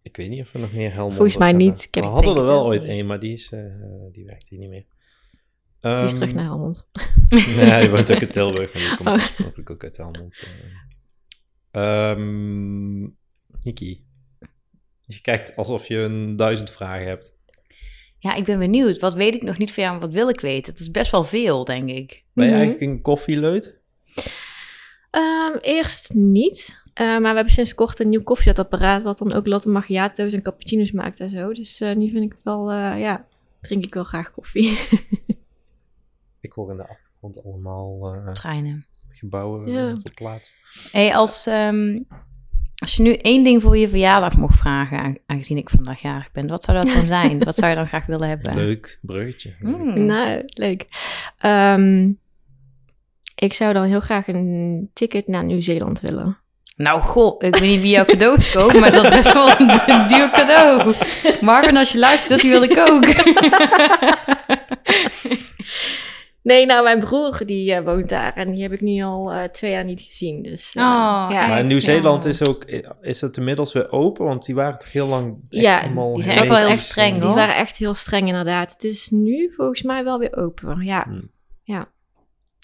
Speaker 1: Ik weet niet of we nog meer Helmond
Speaker 2: Volgens mij
Speaker 1: hebben.
Speaker 2: niet. Ik heb-
Speaker 1: We
Speaker 2: ik
Speaker 1: hadden
Speaker 2: denk
Speaker 1: er
Speaker 2: het
Speaker 1: wel
Speaker 2: wel.
Speaker 1: ooit één, maar die, is, eh, die werkt hier niet meer.
Speaker 2: Die is
Speaker 1: Ehm,
Speaker 2: terug naar Helmond.
Speaker 1: <laughs> Nee, die woont ook in Tilburg, maar die komt
Speaker 2: Oh.
Speaker 1: oorspronkelijk ook uit Helmond. eh. Ehm Niki, je kijkt alsof je een duizend vragen hebt.
Speaker 3: Ja, ik ben benieuwd. Wat weet ik nog niet van jou en wat wil ik weten? Het is best wel veel, denk ik.
Speaker 1: Ben je
Speaker 2: Mhm.
Speaker 1: eigenlijk een koffieleut?
Speaker 2: Ehm, eerst niet. Eh, maar we hebben sinds kort een nieuw koffiezetapparaat... wat dan ook latte macchiato's en cappuccino's maakt en zo. Dus eh, nu vind ik het wel... eh, ja, drink ik wel graag koffie.
Speaker 1: Ik hoor in de achtergrond allemaal eh,
Speaker 3: Treinen.
Speaker 1: gebouwen
Speaker 2: Ja.
Speaker 1: verplaatst.
Speaker 3: Hey, als, ehm, als je nu één ding voor je verjaardag mocht vragen, aan- aangezien ik vandaag jarig ben, wat zou dat <laughs> dan zijn? wat zou je dan graag willen hebben?
Speaker 1: Leuk bruggetje.
Speaker 2: <laughs>
Speaker 3: Hmm.
Speaker 2: nou, leuk. Ehm, ik zou dan heel graag een ticket naar Nieuw-Zeeland willen.
Speaker 3: Nou, goh, ik weet niet wie jouw cadeaus koopt, maar dat is best wel een <laughs> duur cadeau. Marvin, als je luistert, die wil ik ook. <laughs>
Speaker 2: Nee, nou, mijn broer die eh, woont daar en die heb ik nu al eh, twee jaar niet gezien. Dus, eh,
Speaker 3: Oh,
Speaker 2: ja.
Speaker 1: Maar
Speaker 3: Echt,
Speaker 1: Nieuw-Zeeland
Speaker 3: ja.
Speaker 1: is ook, eh, is het inmiddels weer open? Want die waren toch heel lang echt
Speaker 2: Ja,
Speaker 1: helemaal
Speaker 3: die zijn echt wel heel
Speaker 1: restricties.
Speaker 3: streng,
Speaker 2: Die
Speaker 3: hoor.
Speaker 2: waren echt heel streng inderdaad. Het is nu volgens mij wel weer open. Ja,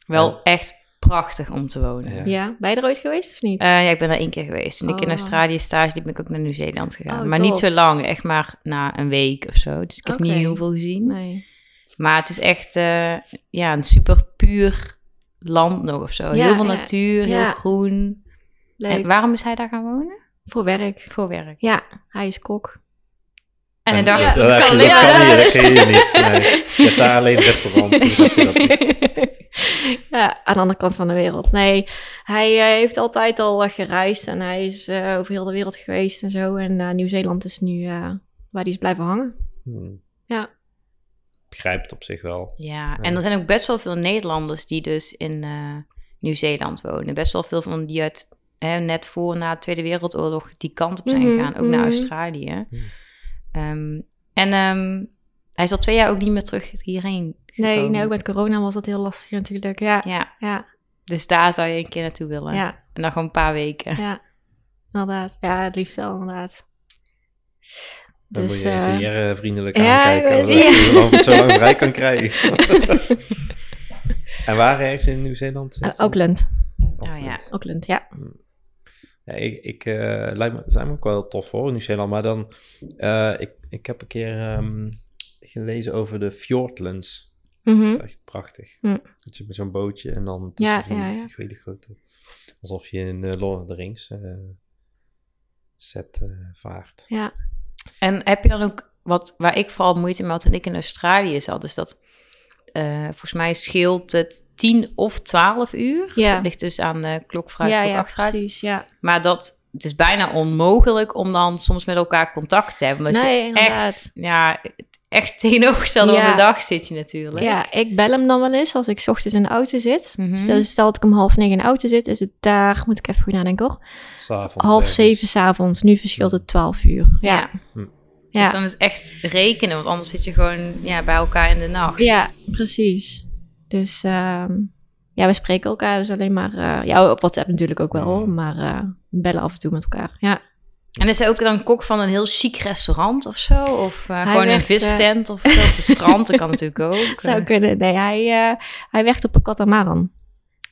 Speaker 3: Wel echt prachtig om te wonen.
Speaker 1: Ja.
Speaker 2: ja. ben je er ooit geweest of niet?
Speaker 3: Eh, ja, ik ben daar één keer geweest. Toen ik in
Speaker 2: Oh.
Speaker 3: Australië stage liep, ben ik ook naar Nieuw-Zeeland gegaan.
Speaker 2: Oh,
Speaker 3: maar niet
Speaker 2: tof.
Speaker 3: zo lang, echt maar na een week of zo. Dus ik heb
Speaker 2: Oké.
Speaker 3: niet heel veel gezien.
Speaker 2: nee.
Speaker 3: Maar het is echt eh, ja, een super puur land nog of zo.
Speaker 2: Ja,
Speaker 3: heel veel
Speaker 2: ja.
Speaker 3: natuur, heel
Speaker 2: Ja.
Speaker 3: groen.
Speaker 2: Leuk.
Speaker 3: En waarom is hij daar gaan wonen?
Speaker 2: Voor werk.
Speaker 3: Voor werk.
Speaker 2: Ja, hij is kok.
Speaker 3: En hij
Speaker 1: En dat,
Speaker 3: dacht, dat
Speaker 1: heb
Speaker 3: kan
Speaker 1: je-
Speaker 3: niet.
Speaker 1: dat kan
Speaker 2: Ja.
Speaker 1: hier, dat
Speaker 2: <laughs>
Speaker 1: kun je niet. Nee. Je hebt daar alleen
Speaker 3: <laughs>
Speaker 1: restaurants. dus dat je dat niet-
Speaker 2: ja, aan de andere kant van de wereld. Nee, hij eh, heeft altijd al eh, gereisd en hij is eh, over heel de wereld geweest en zo. En eh, Nieuw-Zeeland is nu eh, waar hij is blijven hangen.
Speaker 1: Hmm.
Speaker 2: Ja.
Speaker 1: Begrijp het op zich wel.
Speaker 3: Ja, en er zijn ook best wel veel Nederlanders die dus in eh, Nieuw-Zeeland wonen. Best wel veel van die uit hè, net voor na de Tweede Wereldoorlog die kant op zijn
Speaker 2: Mhm,
Speaker 3: gegaan, ook naar
Speaker 2: mhm.
Speaker 3: Australië.
Speaker 1: Hmm.
Speaker 3: Ehm, en ehm, hij is al twee jaar ook niet meer terug hierheen.
Speaker 2: Nee,
Speaker 3: gekomen.
Speaker 2: nee, ook met corona was dat heel lastig natuurlijk. Ja,
Speaker 3: Ja,
Speaker 2: ja,
Speaker 3: dus daar zou je een keer naartoe willen.
Speaker 2: ja.
Speaker 3: En dan gewoon een paar weken.
Speaker 2: Ja, inderdaad. Ja, het liefst wel, inderdaad.
Speaker 1: Dan
Speaker 2: Dus,
Speaker 1: moet je even
Speaker 2: eh,
Speaker 1: hier eh, vriendelijk
Speaker 2: ja,
Speaker 1: aankijken.
Speaker 2: ik
Speaker 1: Dat
Speaker 2: weet het.
Speaker 1: je gewoon zo lang vrij kan
Speaker 2: <laughs>
Speaker 1: krijgen. en waar ergens in Nieuw-Zeeland?
Speaker 2: <laughs> eh, Auckland.
Speaker 1: Auckland.
Speaker 3: Oh, ja.
Speaker 2: Auckland, ja.
Speaker 1: Ja, ik, ik eh, lijkt me, zijn me ook wel heel tof hoor, Nieuw-Zeeland. Maar dan, eh, ik, ik heb een keer ehm, gelezen over de Fjordlands.
Speaker 2: Mhm.
Speaker 1: Het is echt prachtig.
Speaker 2: Hm.
Speaker 1: Dat je met zo'n bootje en dan
Speaker 2: Ja,
Speaker 1: tussen van die
Speaker 2: ja, ja.
Speaker 1: fig- hele grote... Alsof je in eh, Lord of the Rings eh, set eh, vaart.
Speaker 2: Ja.
Speaker 3: En heb je dan ook wat waar ik vooral moeite mee had en ik in Australië zat, is dat eh, volgens mij scheelt het 10 of 12 uur.
Speaker 2: Ja.
Speaker 3: Dat ligt dus aan eh klokvraag
Speaker 2: Ja,
Speaker 3: ja,
Speaker 2: ja,
Speaker 3: achteruit.
Speaker 2: precies. Ja.
Speaker 3: Maar dat het is bijna onmogelijk om dan soms met elkaar contact te hebben. Omdat
Speaker 2: Nee,
Speaker 3: je
Speaker 2: inderdaad.
Speaker 3: echt, ja, echt <laughs> tegenovergestelde
Speaker 2: Ja.
Speaker 3: van de dag zit je natuurlijk.
Speaker 2: ja, ik bel hem dan wel eens als ik 's ochtends in de auto zit.
Speaker 3: Mhm.
Speaker 2: Stel, stel dat ik om half negen in de auto zit, is het daar, moet ik even goed nadenken hoor,
Speaker 1: S'avonds.
Speaker 2: half
Speaker 1: ergens.
Speaker 2: zeven s'avonds. Nu verschilt het twaalf uur. Ja.
Speaker 1: Hm.
Speaker 2: Ja.
Speaker 3: Dus dan is het echt rekenen, want anders zit je gewoon ja, bij elkaar in de nacht.
Speaker 2: Ja, precies. Dus ehm, ja, we spreken elkaar dus alleen maar... eh, ja, op WhatsApp natuurlijk ook wel,
Speaker 1: Mhm.
Speaker 2: hoor, maar eh, we bellen af en toe met elkaar. Ja,
Speaker 3: En is hij ook dan kok van een heel chic restaurant of zo? Of eh,
Speaker 2: Hij
Speaker 3: gewoon een
Speaker 2: werkt, eh,
Speaker 3: vistent of zo op het strand? Dat kan natuurlijk
Speaker 2: <laughs>
Speaker 3: ook.
Speaker 2: zou
Speaker 3: Eh,
Speaker 2: kunnen. Nee, hij, eh, hij werkt op een katamaran.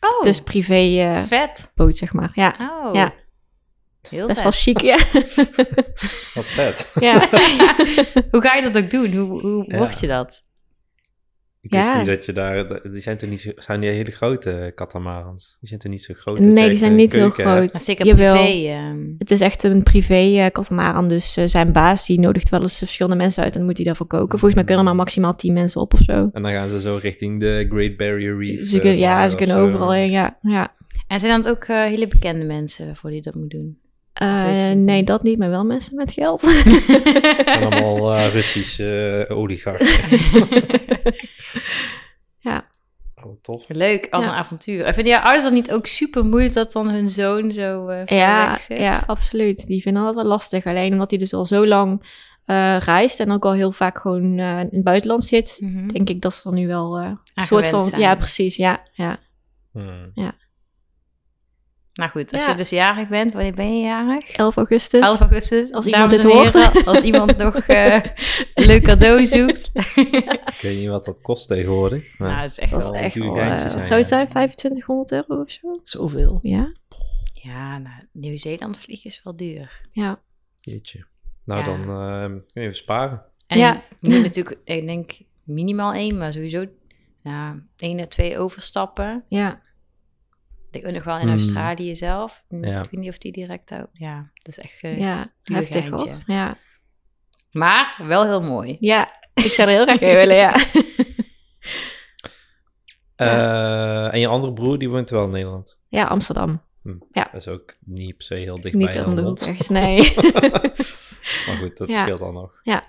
Speaker 3: Oh,
Speaker 2: Dus privé eh,
Speaker 3: vet.
Speaker 2: boot, zeg maar. Ja,
Speaker 3: Oh,
Speaker 2: Ja.
Speaker 3: heel
Speaker 2: best
Speaker 3: vet.
Speaker 2: wel chic, ja.
Speaker 1: Wat vet.
Speaker 2: ja.
Speaker 3: Hoe ga je dat ook doen? Hoe, hoe
Speaker 1: Ja.
Speaker 3: word je dat?
Speaker 1: Ik wist
Speaker 2: Ja.
Speaker 1: niet dat je daar... dat- Die zijn toch niet zo, zijn die hele grote katamarans? Die zijn toch niet zo groot? dat je
Speaker 2: Nee, die
Speaker 1: echt
Speaker 2: zijn
Speaker 1: een
Speaker 2: niet heel
Speaker 1: keuken hebt?
Speaker 2: groot.
Speaker 3: Maar zeker
Speaker 2: Jawel.
Speaker 3: privé. ehm,
Speaker 2: Het is echt een privé eh, katamaran, dus eh, zijn baas die nodigt wel eens verschillende mensen uit en dan moet hij daarvoor koken. Volgens mij kunnen er maar maximaal 10 mensen op of zo.
Speaker 1: En dan gaan ze zo richting de Great Barrier Reef.
Speaker 2: Ze
Speaker 1: eh,
Speaker 2: kunnen, ja,
Speaker 1: varen
Speaker 2: ze
Speaker 1: of
Speaker 2: kunnen
Speaker 1: zo.
Speaker 2: overal heen, ja. ja.
Speaker 3: en zijn dan ook eh, hele bekende mensen waarvoor die dat moet doen?
Speaker 2: Eh,
Speaker 3: weet je het
Speaker 2: nee,
Speaker 3: niet?
Speaker 2: dat niet, maar wel mensen met geld.
Speaker 1: Het zijn
Speaker 2: <laughs>
Speaker 1: allemaal eh, Russische eh, oligarchen.
Speaker 2: Ja.
Speaker 1: Oh, tof.
Speaker 3: <laughs> Leuk, als
Speaker 2: Ja.
Speaker 3: een avontuur. En vinden jouw ouders dat niet ook super moeilijk dat dan hun zoon zo eh ver
Speaker 2: <laughs> Ja,
Speaker 3: weg zit?
Speaker 2: ja, absoluut. Die vinden dat wel lastig. Alleen omdat hij dus al zo lang eh, reist en ook al heel vaak gewoon eh, in het buitenland zit,
Speaker 3: Mhm.
Speaker 2: denk ik dat ze er nu wel eh, een
Speaker 3: Aan
Speaker 2: soort van...
Speaker 3: gewend zijn.
Speaker 2: Ja, precies. Ja, ja.
Speaker 1: Hmm.
Speaker 3: Nou goed, als
Speaker 2: Ja.
Speaker 3: je dus jarig bent, wanneer ben je jarig?
Speaker 2: 11 augustus.
Speaker 3: 11 augustus.
Speaker 2: Als
Speaker 3: dames
Speaker 2: iemand dit
Speaker 3: en heren, <laughs> als iemand nog eh, een leuk
Speaker 2: <laughs>
Speaker 3: cadeau zoekt.
Speaker 1: Ik weet niet wat dat kost tegenwoordig. maar
Speaker 3: nou, dat is echt
Speaker 2: Dat is
Speaker 1: Wel
Speaker 3: wel...
Speaker 1: een
Speaker 2: echt
Speaker 1: Oh, duur
Speaker 2: wel... eh,
Speaker 1: geintje
Speaker 2: wat
Speaker 1: zijn,
Speaker 2: zou het
Speaker 1: ja.
Speaker 2: zijn? 2500 euro of zo?
Speaker 1: Zoveel.
Speaker 2: Ja,
Speaker 3: Ja, nou, Nieuw-Zeeland vliegen is wel duur.
Speaker 2: ja.
Speaker 1: Jeetje. Nou,
Speaker 3: Ja.
Speaker 1: dan ehm, kun je even sparen.
Speaker 3: En
Speaker 2: Ja.
Speaker 3: je moet natuurlijk, ik denk minimaal één, maar sowieso nou, één of twee overstappen.
Speaker 2: Ja,
Speaker 3: Ik denk ook nog wel in
Speaker 1: Hmm.
Speaker 3: Australië zelf. Hmm, Ik
Speaker 1: Ja.
Speaker 3: weet niet of die direct ook... Ja, dat is echt... eh,
Speaker 2: ja.
Speaker 3: duur
Speaker 2: heftig
Speaker 3: geintje.
Speaker 2: hoor. Ja.
Speaker 3: Maar wel heel mooi.
Speaker 2: ja, <laughs> ik zou er heel graag heen willen, ja.
Speaker 1: Eh, en je andere broer, die woont wel in Nederland.
Speaker 2: Ja, Amsterdam.
Speaker 1: Dat is ook niet per se heel dicht bij
Speaker 2: Niet om de hoek,
Speaker 1: Helmond. <laughs>
Speaker 2: echt, nee.
Speaker 1: maar goed, dat
Speaker 2: <laughs> Ja.
Speaker 1: scheelt dan nog.
Speaker 2: Ja.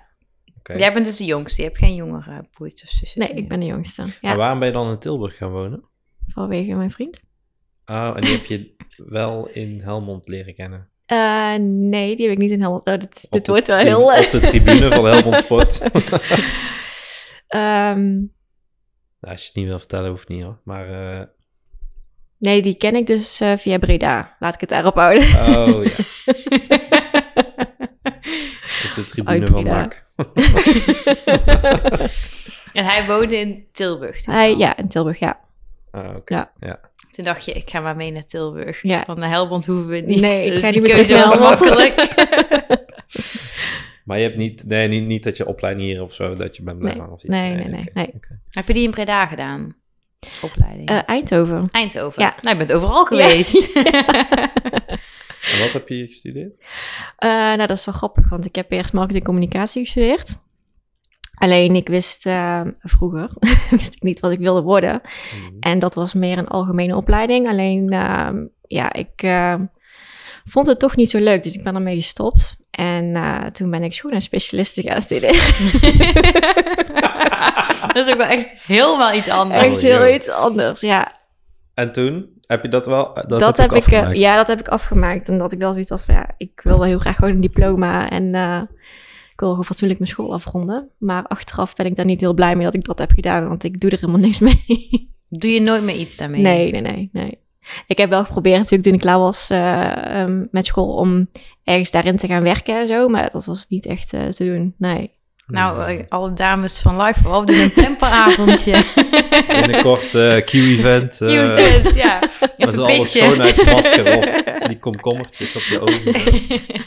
Speaker 1: Oké.
Speaker 3: <laughs> Jij bent dus de jongste, je hebt geen jongere broertjes of zusjes
Speaker 2: Nee,
Speaker 3: meer.
Speaker 2: ik ben de jongste.
Speaker 1: Maar
Speaker 2: Ja,
Speaker 1: waarom ben je dan in Tilburg gaan wonen?
Speaker 2: vanwege mijn vriend.
Speaker 1: Oh, en die heb je wel in Helmond leren kennen.
Speaker 2: Eh, nee, die heb ik niet in Helmond. Oh, dit,
Speaker 1: Op
Speaker 2: dit
Speaker 1: de
Speaker 2: wordt wel
Speaker 1: tri-
Speaker 2: heel... eh,
Speaker 1: Op de tribune
Speaker 2: <laughs>
Speaker 1: van Helmond Sport.
Speaker 2: ehm,
Speaker 1: Nou, als je het niet wil vertellen, hoeft niet hoor. Maar, eh,
Speaker 2: nee, die ken ik dus eh, via Breda. Laat ik het daarop
Speaker 1: <laughs>
Speaker 2: houden.
Speaker 1: oh ja, op de tribune
Speaker 2: Uit
Speaker 1: van
Speaker 2: Breda.
Speaker 1: NAC.
Speaker 3: <laughs> En hij woonde in Tilburg. toen
Speaker 2: Hij-
Speaker 3: al.
Speaker 2: ja, in Tilburg, ja.
Speaker 1: Ah, oké.
Speaker 2: Ja.
Speaker 3: Toen dacht je, ik ga maar mee naar Tilburg.
Speaker 2: Ja.
Speaker 3: Van naar Helmond hoeven we niet.
Speaker 2: Nee, ik
Speaker 3: Dus
Speaker 2: ga
Speaker 3: die
Speaker 2: niet meer
Speaker 3: keuze
Speaker 2: terug naar
Speaker 3: was
Speaker 2: Helmond.
Speaker 3: makkelijk.
Speaker 2: <laughs>
Speaker 3: <laughs>
Speaker 1: Maar je hebt niet, nee, niet, niet dat je opleiding hier of zo, dat je bent blijven
Speaker 2: Nee,
Speaker 1: hangen of iets.
Speaker 2: nee, nee, nee.
Speaker 1: Dus, eh, oké,
Speaker 2: nee.
Speaker 1: oké.
Speaker 3: Heb je die in Breda gedaan? Opleiding.
Speaker 2: Eh, Eindhoven.
Speaker 3: Eindhoven.
Speaker 2: ja.
Speaker 3: Nou, je bent overal geweest.
Speaker 2: <laughs>
Speaker 3: <laughs>
Speaker 1: En wat heb je hier gestudeerd?
Speaker 2: Eh, nou, dat is wel grappig, want ik heb eerst marketing en communicatie gestudeerd. Alleen ik wist eh, vroeger <laughs> wist ik niet wat ik wilde worden.
Speaker 1: Mhm.
Speaker 2: En dat was meer een algemene opleiding. Alleen ehm, ja, ik eh, vond het toch niet zo leuk, dus ik ben ermee gestopt. En eh, toen ben ik schoenenspecialist gaan studeren.
Speaker 3: <laughs> dat is ook wel echt helemaal iets anders.
Speaker 2: Echt
Speaker 1: joh.
Speaker 2: heel iets anders, ja.
Speaker 1: En toen heb je dat wel, dat, heb,
Speaker 2: dat heb ik, eh,
Speaker 1: afgemaakt.
Speaker 2: ja, dat heb ik afgemaakt. Omdat ik wel zoiets had van, ja, ik wil wel heel graag gewoon een diploma. En eh, ik wil gewoon fatsoenlijk mijn school afronden. Maar achteraf ben ik daar niet heel blij mee dat ik dat heb gedaan. Want ik doe er helemaal niks mee.
Speaker 3: Doe je nooit meer iets daarmee?
Speaker 2: Nee, nee, nee, nee. Ik heb wel geprobeerd natuurlijk toen ik klaar was eh, ehm, met school om ergens daarin te gaan werken en zo. Maar dat was niet echt eh, te doen, nee.
Speaker 3: Nou,
Speaker 1: Hmm. <laughs>
Speaker 3: eh, alle dames van Live vooral doen een pamperavondje. <laughs>
Speaker 1: Binnenkort eh, Q-event. eh,
Speaker 3: Nieuw kind,
Speaker 1: <laughs>
Speaker 3: ja.
Speaker 1: Met
Speaker 3: Even
Speaker 1: z'n allen
Speaker 3: pitchen.
Speaker 1: schoonheidsmasker
Speaker 2: <laughs>
Speaker 3: <laughs>
Speaker 1: op. Die komkommertjes op je ogen.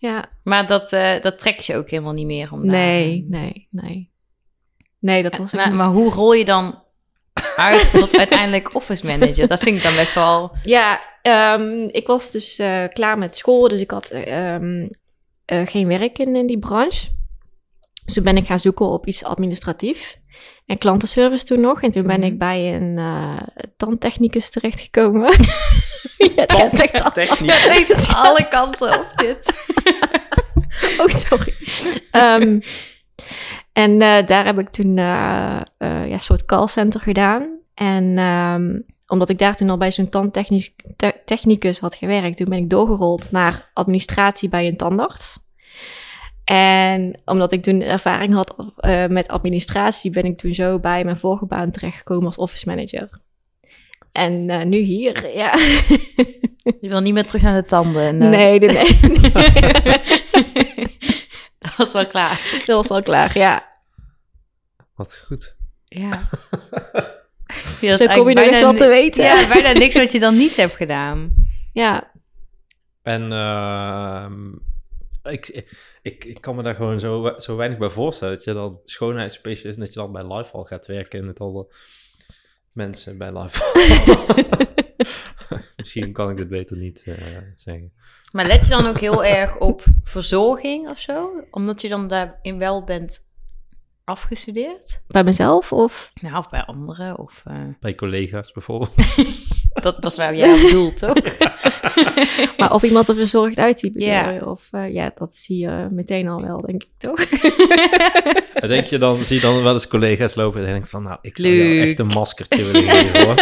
Speaker 2: Ja,
Speaker 3: Maar dat, Nou, eh dat trekt je ook helemaal niet meer om daar-
Speaker 2: nee, nee, nee. Nee, dat was ik
Speaker 3: Maar,
Speaker 2: niet.
Speaker 3: maar hoe rol je dan uit tot uiteindelijk office manager? Dat vind ik dan best wel...
Speaker 2: Ja, ehm, ik was dus eh, klaar met school, dus ik had eh, ehm, eh, geen werk in, in die branche. Dus toen ben ik gaan zoeken op iets administratief en klantenservice toen nog. En toen ben
Speaker 3: Mhm.
Speaker 2: ik bij een eh tandtechnicus terechtgekomen. <laughs> ja, het gaat echt al-
Speaker 3: Ik
Speaker 1: Techniek.
Speaker 3: denk <laughs> dat alle kanten op zit.
Speaker 2: <laughs> Oh, sorry. Ehm, en eh, daar heb ik toen eh, eh, ja, een soort callcenter gedaan. En ehm, omdat ik daar toen al bij zo'n tandtechnicus te- technicus had gewerkt, toen ben ik doorgerold naar administratie bij een tandarts. En omdat ik toen ervaring had eh, met administratie, ben ik toen zo bij mijn vorige baan terechtgekomen als office manager. En eh, nu hier, ja.
Speaker 3: Je wil niet meer terug naar de tanden. En,
Speaker 2: <laughs>
Speaker 3: eh,
Speaker 2: Nee, nee, nee.
Speaker 3: <laughs> Dat was wel klaar.
Speaker 2: dat was al klaar, ja.
Speaker 1: Wat goed.
Speaker 3: Ja.
Speaker 2: Zo kom je nog eens wat te weten.
Speaker 3: Ja, bijna niks wat je dan niet hebt gedaan.
Speaker 2: ja.
Speaker 1: En ehm, ik, ik, ik kan me daar gewoon zo, we- zo weinig bij voorstellen. Dat je dan schoonheidsspecialist en dat je dan bij Lifehall gaat werken en met alle mensen bij Lifehall. Misschien kan ik dit beter niet eh, zeggen.
Speaker 3: Maar let je dan ook heel erg op verzorging of zo? Omdat je dan daarin wel bent afgestudeerd?
Speaker 2: Bij mezelf of?
Speaker 3: Nou, of bij anderen. Of, eh,
Speaker 1: Bij collega's bijvoorbeeld.
Speaker 3: <laughs>
Speaker 1: <laughs>
Speaker 3: dat, dat is waar jij op doelt, <laughs> toch?
Speaker 2: Maar of iemand er verzorgd uitziet bedoel
Speaker 3: Ja.
Speaker 2: je? Of eh, ja, dat zie je meteen al wel, denk ik toch? <laughs>
Speaker 1: Maar denk je dan, zie je dan wel eens collega's lopen en denk je van, nou, ik zou jou
Speaker 3: Leuk.
Speaker 1: echt een maskertje willen geven
Speaker 3: <laughs>
Speaker 1: hoor.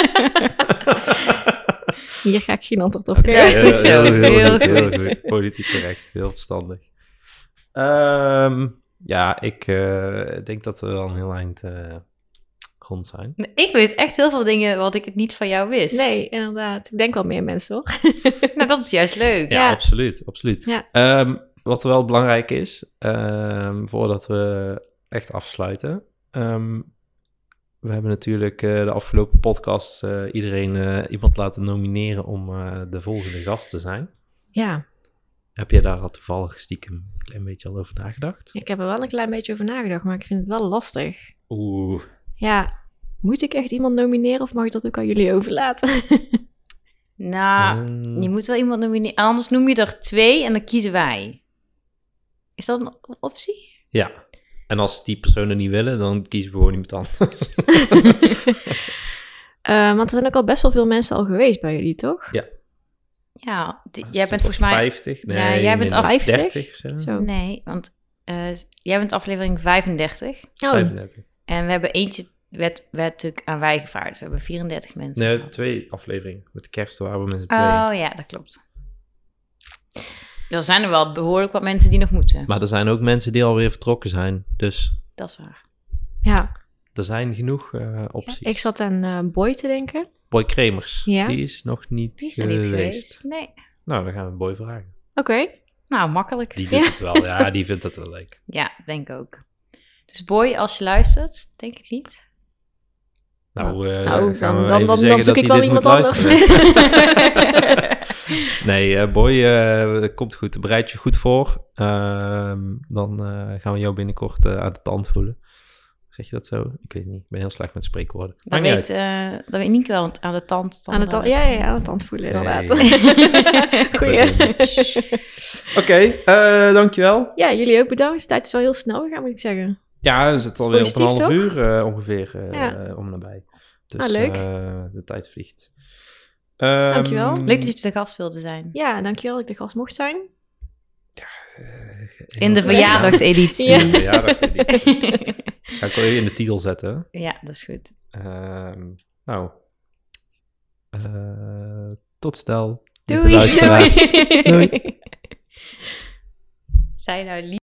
Speaker 2: Hier ga ik geen antwoord op
Speaker 1: Oké,
Speaker 2: geven.
Speaker 3: heel goed
Speaker 1: heel,
Speaker 3: zo.
Speaker 1: heel
Speaker 3: Heel
Speaker 1: goed, heel
Speaker 3: goed.
Speaker 1: goed. Politiek correct, heel verstandig. Ehm, ja, ik eh, denk dat we al een heel eind eh, rond zijn.
Speaker 3: ik weet echt heel veel dingen wat ik het niet van jou wist.
Speaker 2: Nee, inderdaad. Ik denk wel meer mensen hoor.
Speaker 3: Nou, dat is juist leuk.
Speaker 1: Ja,
Speaker 2: Ja.
Speaker 1: absoluut, absoluut.
Speaker 2: Ja.
Speaker 1: Ehm, wat wel belangrijk is, ehm, voordat we echt afsluiten. ehm, we hebben natuurlijk eh, de afgelopen podcast eh, iedereen eh, iemand laten nomineren om eh, de volgende gast te zijn.
Speaker 2: Ja,
Speaker 1: Heb jij daar al toevallig stiekem een klein beetje al over nagedacht?
Speaker 2: ik heb er wel een klein beetje over nagedacht, maar ik vind het wel lastig.
Speaker 1: Oeh.
Speaker 2: Ja, moet ik echt iemand nomineren of mag ik dat ook aan jullie <laughs> overlaten?
Speaker 3: Nou,
Speaker 1: Ehm,
Speaker 3: je moet wel iemand nomineren. Anders noem je er twee en dan kiezen wij. Is dat een optie?
Speaker 1: Ja. En als die personen niet willen, dan kiezen we gewoon iemand <laughs> anders.
Speaker 2: <laughs> Eh, want er zijn ook al best wel veel mensen al geweest bij jullie, toch?
Speaker 3: Ja, die-
Speaker 1: Is
Speaker 3: jij
Speaker 1: dat
Speaker 3: bent volgens mij...
Speaker 1: 50? Nee,
Speaker 3: Ja, jij bent
Speaker 1: minder.
Speaker 2: 50?
Speaker 1: 30 of zo?
Speaker 2: Zo.
Speaker 3: Nee, want eh, jij bent aflevering 35.
Speaker 2: Oh,
Speaker 1: 35.
Speaker 3: En we hebben eentje, werd, werd natuurlijk aan wij gevaard. We hebben 34 mensen.
Speaker 1: Nee, we hebben
Speaker 3: gehad.
Speaker 1: twee afleveringen. Met kerst waren we met z'n tweeën.
Speaker 3: Oh ja, dat klopt. Er zijn er wel behoorlijk wat mensen die nog moeten.
Speaker 1: Maar er zijn ook mensen die alweer vertrokken zijn. Dus
Speaker 3: Dat is waar.
Speaker 2: ja.
Speaker 1: er zijn genoeg eh, opties.
Speaker 2: Ik zat aan eh, Boy te denken.
Speaker 1: Boy Kremers,
Speaker 2: Ja.
Speaker 1: die is nog niet
Speaker 3: Die zijn
Speaker 1: geweest.
Speaker 3: niet geweest. Nee.
Speaker 1: Nou, dan gaan we Boy vragen.
Speaker 2: Oké.
Speaker 3: Nou, makkelijk.
Speaker 1: Die
Speaker 2: Ja.
Speaker 1: doet het wel. Ja, die vindt het wel leuk.
Speaker 3: Ja, denk ik ook. Dus boy, als je luistert, denk
Speaker 1: <laughs>
Speaker 3: ik niet. <laughs>
Speaker 1: Nou, eh,
Speaker 2: Nou,
Speaker 1: gaan
Speaker 2: dan,
Speaker 1: we
Speaker 2: dan,
Speaker 1: even
Speaker 2: dan, dan
Speaker 1: zeggen
Speaker 2: zoek
Speaker 1: dat
Speaker 2: ik
Speaker 1: hij
Speaker 2: wel
Speaker 1: dit moet
Speaker 2: iemand anders.
Speaker 1: luisteren. Nee, eh, boy, eh, komt goed. Bereid je goed voor. Ehm, dan eh, gaan we jou binnenkort eh, aan de tand voelen. Zeg je dat zo? Ik weet het niet. Ik ben heel slecht met spreekwoorden.
Speaker 3: dat,
Speaker 1: Maakt niet
Speaker 3: weet, eh dat weet Nienke wel want aan de tand.
Speaker 2: aan het,
Speaker 3: dan-
Speaker 2: tand- ja, ja, ja,
Speaker 3: <laughs>
Speaker 2: aan het tand voelen,
Speaker 1: Hey.
Speaker 2: inderdaad. Goeie.
Speaker 1: uit. <laughs> Oké, eh, dankjewel.
Speaker 2: <laughs> Ja, jullie ook bedankt. De tijd is wel heel snel gegaan, moet ik zeggen.
Speaker 1: Ja, we zitten alweer op een half
Speaker 2: positief,
Speaker 1: uur eh, ongeveer eh,
Speaker 2: Ja.
Speaker 1: om nabij. Dus,
Speaker 2: Ah, leuk.
Speaker 1: eh, de tijd vliegt. Ehm,
Speaker 2: Dankjewel.
Speaker 3: Leuk dat je de gast wilde zijn.
Speaker 2: Ja, dankjewel dat ik de gast mocht zijn.
Speaker 3: In de verjaardagseditie.
Speaker 1: eh, In de verjaardagseditie. Ga ik wel even in de titel zetten. hè.
Speaker 3: <laughs> ja, dat is goed.
Speaker 1: Ehm, nou, eh, tot snel. lieve
Speaker 3: Doei. <laughs>
Speaker 1: luisteraars.
Speaker 3: Doei.
Speaker 1: Doei.
Speaker 3: Zij nou lief.